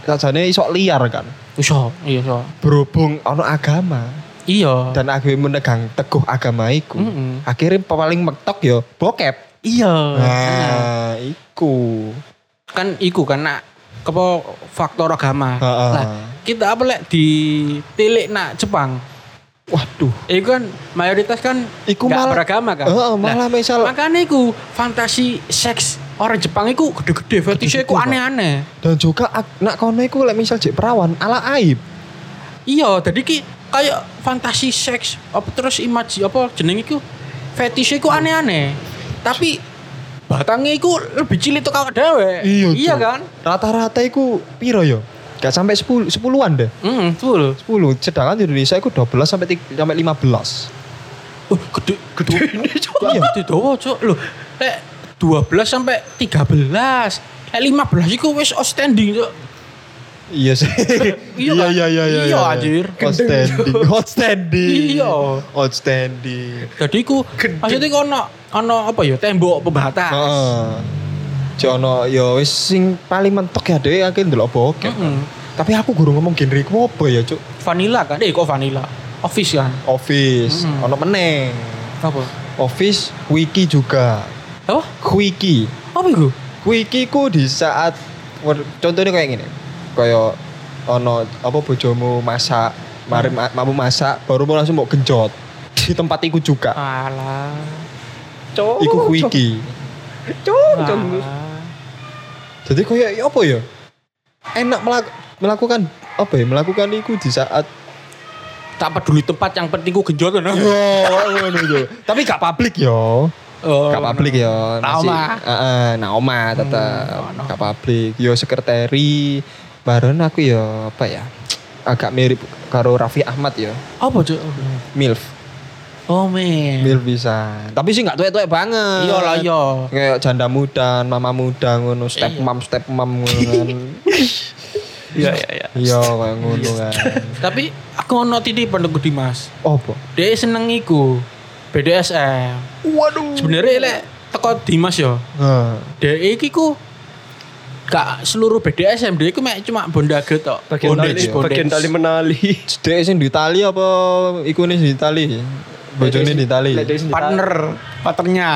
Speaker 1: sakjane iso liar kan.
Speaker 2: iso iya iso
Speaker 1: Berhubung ono agama
Speaker 2: iya
Speaker 1: dan aku menegang teguh agama iku.
Speaker 2: Mm-mm.
Speaker 1: Akhirnya paling metok ya bokep.
Speaker 2: hmm. iya
Speaker 1: Nah, iku.
Speaker 2: kan iku karena kepo faktor agama
Speaker 1: Heeh.
Speaker 2: lah kita apa lek di tilik nak Jepang
Speaker 1: Waduh.
Speaker 2: itu kan mayoritas kan
Speaker 1: Iku
Speaker 2: nggak
Speaker 1: malah-
Speaker 2: beragama kan
Speaker 1: Heeh, malah
Speaker 2: Nah,
Speaker 1: misal
Speaker 2: makanya iku fantasi seks orang Jepang iku gede-gede fetishnya iku
Speaker 1: Pak.
Speaker 2: aneh-aneh
Speaker 1: dan juga ak- nak kono iku lek misal jek perawan ala aib.
Speaker 2: iya jadi ki kayak fantasi seks apa terus imaji apa jeneng iku fetishnya iku aneh-aneh tapi batangnya iku lebih cilik tuh kawak dewe iya
Speaker 1: Cuk.
Speaker 2: kan
Speaker 1: Rata-rata iku piro yo? Gak sampai 10 10-an deh.
Speaker 2: Hmm, betul.
Speaker 1: 10. Sedangkan di Indonesia iku 12 sampai tig- sampai 15.
Speaker 2: Uh, gede, gede ini cok.
Speaker 1: Iya.
Speaker 2: Gede doa cok. Loh, lek 12 sampai 13. Lek 15 iku wis outstanding cok.
Speaker 1: Iya sih.
Speaker 2: Iya, kan? Iya, anjir.
Speaker 1: Outstanding. [LAUGHS] Outstanding.
Speaker 2: Iya.
Speaker 1: Outstanding.
Speaker 2: Jadi iku
Speaker 3: Gede.
Speaker 2: maksudnya iku ono ono apa ya tembok pembatas.
Speaker 1: Heeh. Jono yo wis sing paling mentok ya dhewe akeh ndelok bokep.
Speaker 2: Mm-mm.
Speaker 1: Tapi aku guru ngomong genre ku apa ya, Cuk?
Speaker 2: Hmm. Vanilla kan? Eh kok vanilla? Office kan?
Speaker 1: Office,
Speaker 2: Mm-mm.
Speaker 1: ono meneh.
Speaker 2: Apa?
Speaker 1: Office, wiki juga.
Speaker 2: Apa?
Speaker 1: Wiki.
Speaker 2: Apa iku?
Speaker 1: Wiki ku di saat wer- contohnya kayak gini. Kayak ono apa bojomu masak, mari ma- mamu masak, baru mau langsung mau genjot di tempat iku juga.
Speaker 2: Alah.
Speaker 3: Cok.
Speaker 1: Iku wiki.
Speaker 3: Cok.
Speaker 1: Nah.
Speaker 3: Cok.
Speaker 2: alah.
Speaker 1: Jadi kayak ya apa ya? Enak melak- melakukan apa ya? Melakukan iku di saat
Speaker 2: Tak peduli tempat yang penting ku genjot
Speaker 1: yo
Speaker 2: kan.
Speaker 1: ngono yo. Tapi gak publik yo.
Speaker 2: Oh,
Speaker 1: Gak publik ya? yo.
Speaker 2: Nah, omah.
Speaker 1: Heeh, nah omah tetep.
Speaker 2: Hmm, ono.
Speaker 1: Gak publik. Yo sekretari. Baron aku yo apa ya? Agak mirip karo Raffi Ahmad yo.
Speaker 2: Apa cok?
Speaker 1: MILF.
Speaker 2: Oh men.
Speaker 1: MILF bisa. Tapi sih gak tuwek-tuwek banget.
Speaker 2: Iya lah iya.
Speaker 1: Kayak janda muda, mama muda ngono, step
Speaker 2: Iya.
Speaker 1: mom, step mom ngono
Speaker 2: [LAUGHS]
Speaker 1: kan.
Speaker 2: Iya iya iya.
Speaker 1: Iya, kayak ngono kan. Oh,
Speaker 2: Tapi aku ono titipan tuh gede mas.
Speaker 1: Opo?
Speaker 2: Dia seneng iku BDSM.
Speaker 1: Waduh.
Speaker 2: Sebenarnya lek teko Dimas ya.
Speaker 1: Heeh.
Speaker 2: Dia iki ku gak seluruh BDSM dia iku mek cuma bondage tok.
Speaker 3: Bagian tali,
Speaker 1: Bondage,
Speaker 3: bagian tali menali.
Speaker 1: Dek sing di Itali apa iku nih di Itali? Bojone di Itali.
Speaker 3: Lihat dari sini.
Speaker 2: partner, partnernya.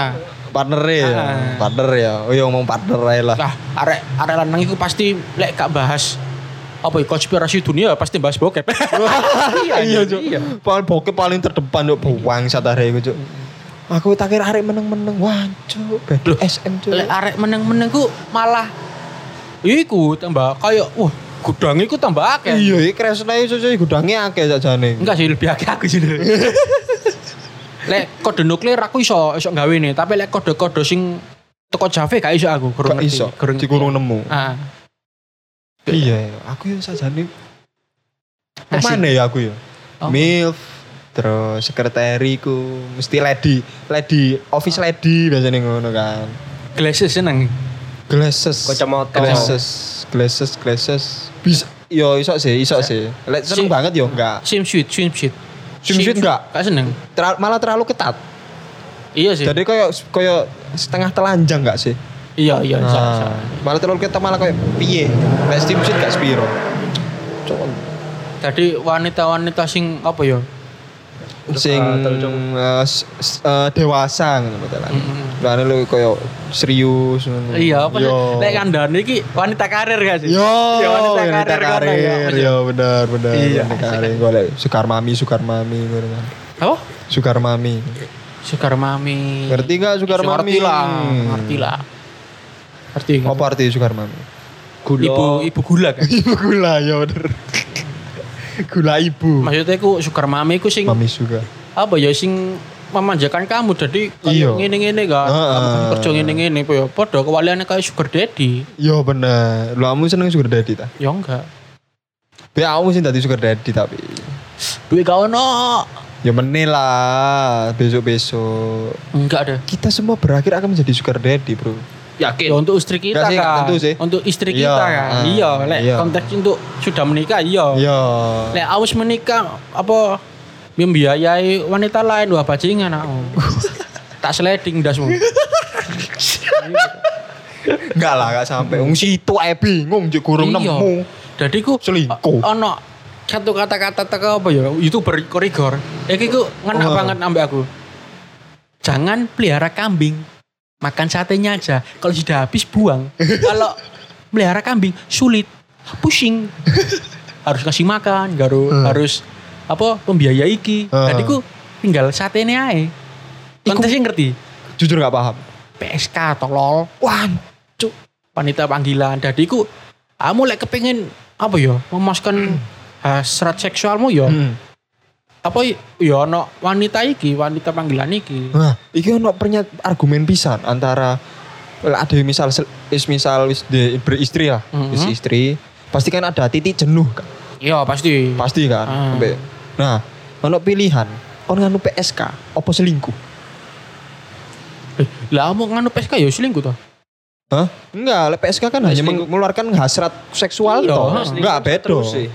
Speaker 1: Partner ya.
Speaker 2: Ah.
Speaker 1: Partner ya. Oh iya ngomong partner ae lah.
Speaker 2: Lah, arek arek lanang iku pasti lek gak bahas apa ya, konspirasi dunia pasti bahas
Speaker 3: [LAUGHS]
Speaker 2: bokep.
Speaker 1: iya, Cuk. Paling bokep paling terdepan Cuk. Bangsat arek iku, Cuk. Aku tak kira arek meneng-meneng. Wah, Cuk.
Speaker 2: Loh,
Speaker 1: SM, Cuk.
Speaker 2: lek arek meneng-meneng ku malah iku tambah kayak wah gudang iku tambah akeh.
Speaker 1: Iya, iki kresna iso iso gudange akeh sakjane.
Speaker 2: Enggak sih lebih akeh aku sih.
Speaker 1: [LAUGHS]
Speaker 2: lek kode nuklir aku iso iso gawe nih, tapi lek kode-kode sing teko Java gak iso aku, kurang
Speaker 1: Gak iso.
Speaker 2: Kurang
Speaker 1: Dikurung nemu.
Speaker 2: Ah,
Speaker 1: Iya, aku ya sajane
Speaker 2: Asik. Oh.
Speaker 1: kemana ya aku ya?
Speaker 2: Apa?
Speaker 1: MILF, terus sekretariku mesti lady, lady office
Speaker 2: Oh.
Speaker 1: lady biasanya ngono kan.
Speaker 2: glasses seneng.
Speaker 1: Glasses,
Speaker 3: Kacamata.
Speaker 1: glasses, glasses, glasses. Bisa, yo iso sih, iso sih. Lek seneng
Speaker 2: Si-
Speaker 1: banget yo enggak.
Speaker 2: Swimsuit, swimsuit.
Speaker 1: Swimsuit enggak?
Speaker 2: Gak seneng.
Speaker 1: Terla- malah terlalu ketat.
Speaker 2: Iya sih.
Speaker 1: Jadi kayak kayak setengah telanjang enggak sih?
Speaker 2: iya iya iso, iso.
Speaker 1: Nah, malah terlalu ketat malah kayak piye? Lek swimsuit enggak spiro. Cok,
Speaker 2: Tadi wanita-wanita sing apa ya?
Speaker 1: Hmm. sing
Speaker 3: Terus,
Speaker 1: eh, s- s- eh, dewasa ngono padahal. Lah lu koyo serius ngono.
Speaker 2: Iya, apa sih?
Speaker 1: Yo.
Speaker 2: Lek kandane iki wanita karir gak sih?
Speaker 1: Yo,
Speaker 2: Iya, wanita
Speaker 1: wanita
Speaker 2: karir. kono, ya.
Speaker 1: karir, yo bener bener.
Speaker 2: Iya.
Speaker 1: wanita karir golek sukar mami, sukar mami ngono kan.
Speaker 2: Apa?
Speaker 1: Sukar mami.
Speaker 2: Sugar mami.
Speaker 1: Ngerti gak sugar
Speaker 2: Iso
Speaker 1: mami?
Speaker 2: Ngerti lah, ngerti lah. Ngerti. ngerti.
Speaker 1: Apa arti sukar mami?
Speaker 3: Gula.
Speaker 2: Ibu ibu gula kan.
Speaker 1: [LAUGHS] ibu gitu. gula, yo bener. gula ibu.
Speaker 2: Maksudnya aku sugar mami aku sing
Speaker 1: Mami sugar.
Speaker 2: apa ya sing memanjakan kamu jadi
Speaker 1: Iya.
Speaker 2: kayak ngene-ngene kan
Speaker 1: Heeh.
Speaker 2: kamu kan kerja ngene-ngene apa ya padha kewaliannya kayak sugar daddy
Speaker 1: Yo bener. Lu kamu seneng sugar daddy ta?
Speaker 2: ya enggak
Speaker 1: Be aku sih tadi sugar daddy tapi.
Speaker 2: duit gak ono
Speaker 1: Ya meneh lah besok-besok.
Speaker 2: enggak ada
Speaker 1: Kita semua berakhir akan menjadi sugar daddy, Bro.
Speaker 3: Yakin.
Speaker 2: ya untuk istri
Speaker 1: Enggak
Speaker 2: kita
Speaker 1: sih, enggak
Speaker 2: kan
Speaker 1: tentu sih.
Speaker 2: untuk istri
Speaker 1: Iya,
Speaker 2: kita kan
Speaker 1: heeh.
Speaker 2: iya lek
Speaker 1: Iya.
Speaker 2: konteks untuk sudah menikah iya
Speaker 1: Iya.
Speaker 2: lek aus menikah apa membiayai wanita lain wah
Speaker 1: [LAUGHS]
Speaker 2: bajingan aku tak sliding dasmu
Speaker 1: Enggak lah, enggak sampai. Wong situ ae bingung jek gurung
Speaker 2: Iya.
Speaker 1: nemu.
Speaker 2: Jadi ku
Speaker 1: Selingkuh.
Speaker 2: o- Ono satu kata-kata teko apa ya youtuber korigor. Iki ku ngena
Speaker 1: Oh.
Speaker 2: banget ambek aku. Jangan pelihara kambing. Makan satenya aja. Kalau sudah habis
Speaker 1: [LAUGHS]
Speaker 2: buang. Kalau pelihara kambing sulit.
Speaker 1: [LAUGHS]
Speaker 2: Pusing. harus kasih makan, garu
Speaker 1: Hmm.
Speaker 2: harus apa pembiaya iki.
Speaker 1: Hmm.
Speaker 2: Jadi ku tinggal satene ae. Kontesnya ngerti.
Speaker 1: Jujur enggak paham.
Speaker 2: PSK tolol.
Speaker 1: Wah,
Speaker 2: cuk wanita panggilan jadi ku kamu lek kepingin apa ya [CLEARS THROAT] memuaskan hasrat seksualmu ya
Speaker 1: Hmm.
Speaker 2: apa y- ya ono wanita iki wanita panggilan iki
Speaker 1: Nah, iki ono pernyat argumen pisan antara lah, ada yang misal sel- is misal wis de- beristri lah,
Speaker 2: Mhm.
Speaker 1: wis istri, pasti kan ada titik jenuh kan,
Speaker 2: iya pasti
Speaker 1: pasti kan.
Speaker 2: Ah.
Speaker 1: Sampai- Nah, ono pilihan, kon nganu PSK, opo selingkuh?
Speaker 2: Eh, lah mau nganu PSK ya selingkuh toh
Speaker 1: Hah? Enggak, lah PSK kan hanya
Speaker 3: selingkuh.
Speaker 1: mengeluarkan hasrat seksual
Speaker 2: Iya,
Speaker 1: toh.
Speaker 2: nah,
Speaker 3: selingkuh
Speaker 1: Enggak bedo.
Speaker 3: terus sih.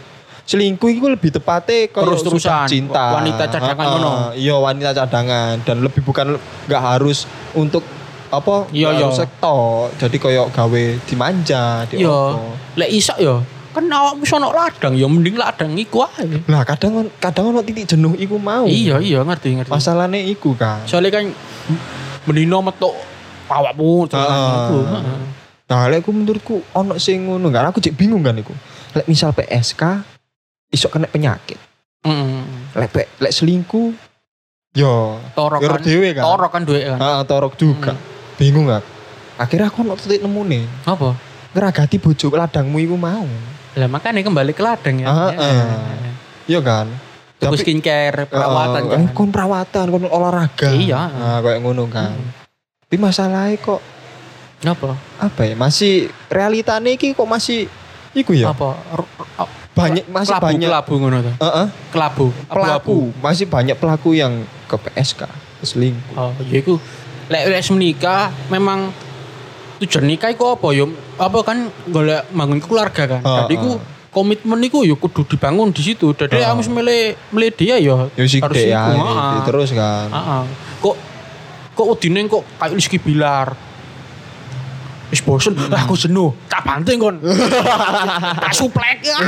Speaker 1: Selingkuh itu lebih tepatnya kalau
Speaker 2: Terus-terusan,
Speaker 1: sudah cinta.
Speaker 2: wanita cadangan
Speaker 1: Ah, ah,
Speaker 2: ngono.
Speaker 1: Iya, wanita cadangan dan lebih bukan enggak harus untuk apa?
Speaker 2: Iya,
Speaker 1: nggak
Speaker 2: iya.
Speaker 1: harus sektor. Jadi koyok gawe dimanja, di
Speaker 2: iya
Speaker 1: apa.
Speaker 2: lek isak ya kan awakmu sono ladang ya mending ladang iku ae
Speaker 1: Lah kadang kadang ono titik jenuh iku mau.
Speaker 2: iya iya ngerti ngerti
Speaker 1: Masalahnya iku kan.
Speaker 2: soalnya kan menino metuk awakmu jalan
Speaker 1: Ah.
Speaker 2: iku. Heeh.
Speaker 1: Nah, lek aku menurutku ono sing ngono kan aku cek bingung kan iku. Lek misal PSK isok kena penyakit.
Speaker 2: Heeh.
Speaker 1: Lek pe- lek selingkuh yo
Speaker 2: torok
Speaker 1: yo
Speaker 2: kan
Speaker 1: dhewe kan.
Speaker 2: torok kan duit kan
Speaker 1: Heeh, torok juga.
Speaker 2: Hmm.
Speaker 1: Bingung kan. Akhirnya aku ono titik nemune
Speaker 2: apa
Speaker 1: ngeragati bojo ladangmu iku mau.
Speaker 2: Lah makanya kembali ke ladang ya.
Speaker 1: Ah,
Speaker 2: Ya.
Speaker 1: ah. Iya kan?
Speaker 2: Tuku skincare, perawatan
Speaker 1: Heeh,
Speaker 2: kan.
Speaker 1: eh, kon perawatan, kon olahraga.
Speaker 2: Iya. Hmm.
Speaker 1: Nah, kayak ngono kan. Tapi masalahnya kok
Speaker 2: Apa?
Speaker 1: apa ya masih realitanya iki kok masih iku ya
Speaker 2: Apa? R- r-
Speaker 1: banyak masih
Speaker 2: kelabu,
Speaker 1: banyak
Speaker 2: kelabu ngono tuh.
Speaker 1: Heeh,
Speaker 2: Kelabu, abu-abu.
Speaker 1: pelaku masih banyak pelaku yang ke PSK ke selingkuh
Speaker 2: Oh, ya iku. Lek lek menikah memang tujuan nikah iku apa ya? Apa kan golek bangun keluarga kan.
Speaker 1: Ah,
Speaker 2: Jadi iku
Speaker 1: ah.
Speaker 2: komitmen iku ya kudu dibangun di situ. Jadi
Speaker 1: Ah.
Speaker 2: harus milih milih dia ya.
Speaker 1: ya sih deh ya
Speaker 2: iku,
Speaker 1: ya,
Speaker 2: ah, ah.
Speaker 1: terus kan
Speaker 2: Heeh. Kok kok udine kok kayak Rizky Bilar. Wis bosen, lah aku jenuh. Hmm. Tak banting kon. [LAUGHS] tak suplek. ah.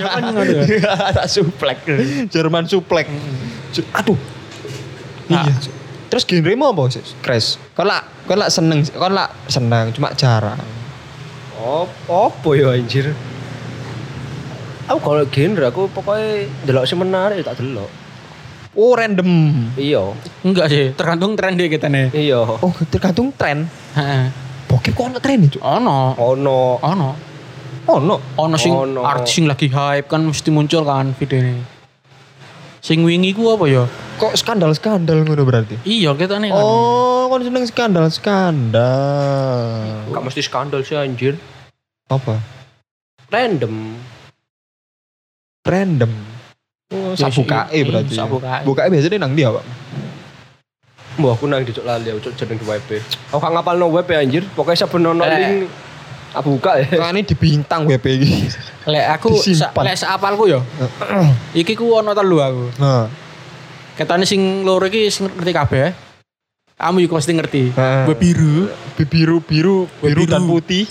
Speaker 2: Ya kan ngono ya.
Speaker 1: [LAUGHS] tak suplek Jerman suplek Ju- aduh
Speaker 2: Nah.
Speaker 1: iya Ju. terus genre mau apa sih crash kau lah kau lah seneng kau lah seneng cuma jarang
Speaker 3: Op- Opo ya anjir. Aku kalau genre aku pokoknya delok sih menarik tak delok.
Speaker 1: oh random
Speaker 3: Iya.
Speaker 2: Enggak sih, tergantung tren dia kita nih.
Speaker 3: Iya.
Speaker 1: oh tergantung tren
Speaker 2: Heeh.
Speaker 1: bokep kok ono tren itu
Speaker 2: Ono,
Speaker 3: Ono
Speaker 2: ono.
Speaker 1: oh no
Speaker 2: Ono sing
Speaker 3: Ono.
Speaker 2: artis sing lagi hype kan mesti muncul kan videonya. Sing wingi ku apa ya?
Speaker 1: kok skandal skandal ngono berarti
Speaker 2: Iya, kita nih.
Speaker 1: Oh, kon seneng skandal skandal.
Speaker 3: Gak mesti skandal sih anjir.
Speaker 1: Apa?
Speaker 3: Random.
Speaker 1: Random. Oh, sabu kae berarti.
Speaker 2: Sabu kae.
Speaker 1: Bukae biasanya nang dia, Pak.
Speaker 3: Mbah aku nang dicuk lali aku cuk jeneng di WP. Aku gak ngapal no WP anjir. Pokoknya saben ono
Speaker 2: Eh.
Speaker 3: link tak buka ya.
Speaker 1: Kan ini di bintang WP iki.
Speaker 2: Lek aku sa,
Speaker 1: Disimpan.
Speaker 2: lek sapalku ya. Iki ku ono telu aku.
Speaker 1: [LAUGHS] Nah,
Speaker 2: Ketane sing loro iki sing ngerti kabeh. eh. Kamu juga pasti ngerti.
Speaker 1: Heeh.
Speaker 2: Gue biru,
Speaker 1: biru biru biru dan
Speaker 2: Biru.
Speaker 1: putih.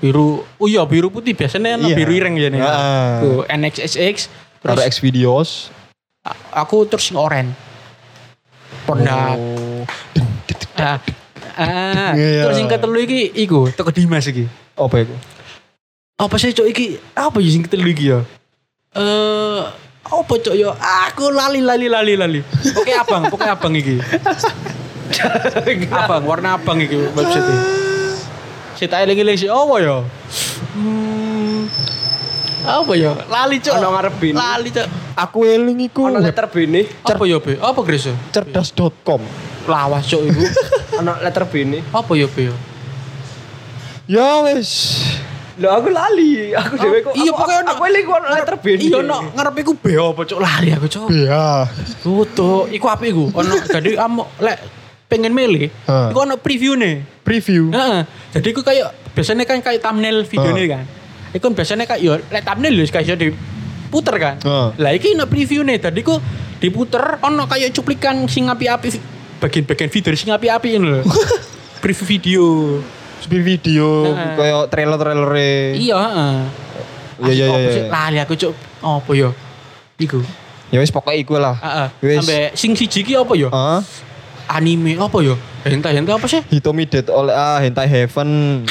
Speaker 2: biru. Oh iya, biru putih biasanya ana
Speaker 1: Iya.
Speaker 2: biru ireng ya nih.
Speaker 1: Heeh.
Speaker 2: Tuh, NXXX terus
Speaker 1: Ada X videos.
Speaker 2: a- aku terus sing oren. Pondak. Ah. Ah,
Speaker 1: Oh. Iya.
Speaker 2: terus sing ketelu iki iku, teko Dimas iki.
Speaker 1: Apa itu?
Speaker 2: Apa sih cok iki? Apa ya sing ketelu iki ya? Eh, apa cok ya? Aku lali lali lali lali. Oke abang, pokoknya abang iki. abang warna abang iki website si tak lagi lagi apa ya hmm, apa ya lali cok
Speaker 3: Ono ngarep bin.
Speaker 2: lali cok
Speaker 1: Aku eling iku
Speaker 3: Ono
Speaker 1: web
Speaker 3: letter B nih,
Speaker 2: Apa ya, Be? Apa Gris? ya?
Speaker 1: cerdas.com.
Speaker 2: Lawas cok [LAUGHS] iku.
Speaker 3: ono letter B nih.
Speaker 2: Apa ya, Be? ya?
Speaker 1: Ya wis.
Speaker 3: Lho aku lali, aku dhewe kok.
Speaker 2: Ah, Iya,
Speaker 3: aku-
Speaker 2: pokoknya ono-
Speaker 3: aku eling ku ono letter B nih.
Speaker 2: Iya no, ngarep iku B apa cok lali aku cok.
Speaker 1: Ya.
Speaker 2: Tuh, iku apik iku. Ono
Speaker 1: [LAUGHS]
Speaker 2: jadi kamu lek pengen milih,
Speaker 1: Ha.
Speaker 2: iku ono previewne.
Speaker 1: Preview.
Speaker 2: Heeh. Jadi iku kayak biasanya kan kayak thumbnail videonya
Speaker 1: Ha.
Speaker 2: kan. Iku biasanya kayak yo lek thumbnail yo kayak iso diputer kan.
Speaker 1: Ha.
Speaker 2: Lah iki ono previewne. Jadi iku diputer ono kayak cuplikan sing api-api bagian-bagian video sing api-api
Speaker 1: [LAUGHS]
Speaker 2: ngono lho. Preview video.
Speaker 1: Sepi video
Speaker 2: Heeh.
Speaker 1: koyo trailer-trailer
Speaker 2: Nah. Iya, heeh.
Speaker 1: Iya, iya,
Speaker 2: Asik,
Speaker 1: iya,
Speaker 2: apa
Speaker 1: iya.
Speaker 2: sih? Lali aku cuk. Apa yo? Iku.
Speaker 1: Ya wis pokoke iku lah.
Speaker 2: Heeh.
Speaker 1: Wis.
Speaker 2: Sampai sing siji ki apa yo?
Speaker 1: Heeh.
Speaker 2: anime apa ya? Hentai hentai apa sih?
Speaker 1: Hitomi Dead oleh ah, Hentai Heaven.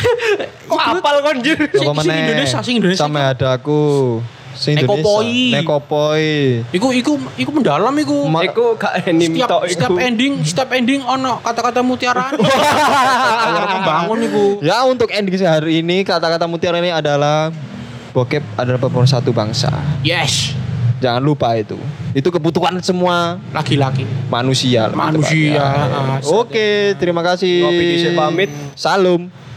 Speaker 3: Kok apal kon
Speaker 2: [LAUGHS]
Speaker 3: jir?
Speaker 2: Sing- sing Indonesia, sing Indonesia.
Speaker 1: Sampai ada aku. Sing Indonesia.
Speaker 2: Nekopoi.
Speaker 1: Nekopoi.
Speaker 2: [LAUGHS] Iku iku iku mendalam iku.
Speaker 1: Ma-
Speaker 3: Iku gak enim
Speaker 2: setiap
Speaker 3: tok
Speaker 2: setiap
Speaker 3: iku.
Speaker 2: ending, setiap ending ono kata-kata mutiara. Kata-kata Membangun iku.
Speaker 1: Ya untuk ending hari ini kata-kata mutiara ini adalah bokep adalah pemersatu bangsa.
Speaker 2: Yes.
Speaker 1: Jangan lupa itu. Itu kebutuhan semua
Speaker 2: Laki-laki.
Speaker 1: manusia. lebih
Speaker 2: Manusia.
Speaker 1: tepatnya. Oke, terima kasih.
Speaker 3: Ngopi dhisik, pamit.
Speaker 1: Salam.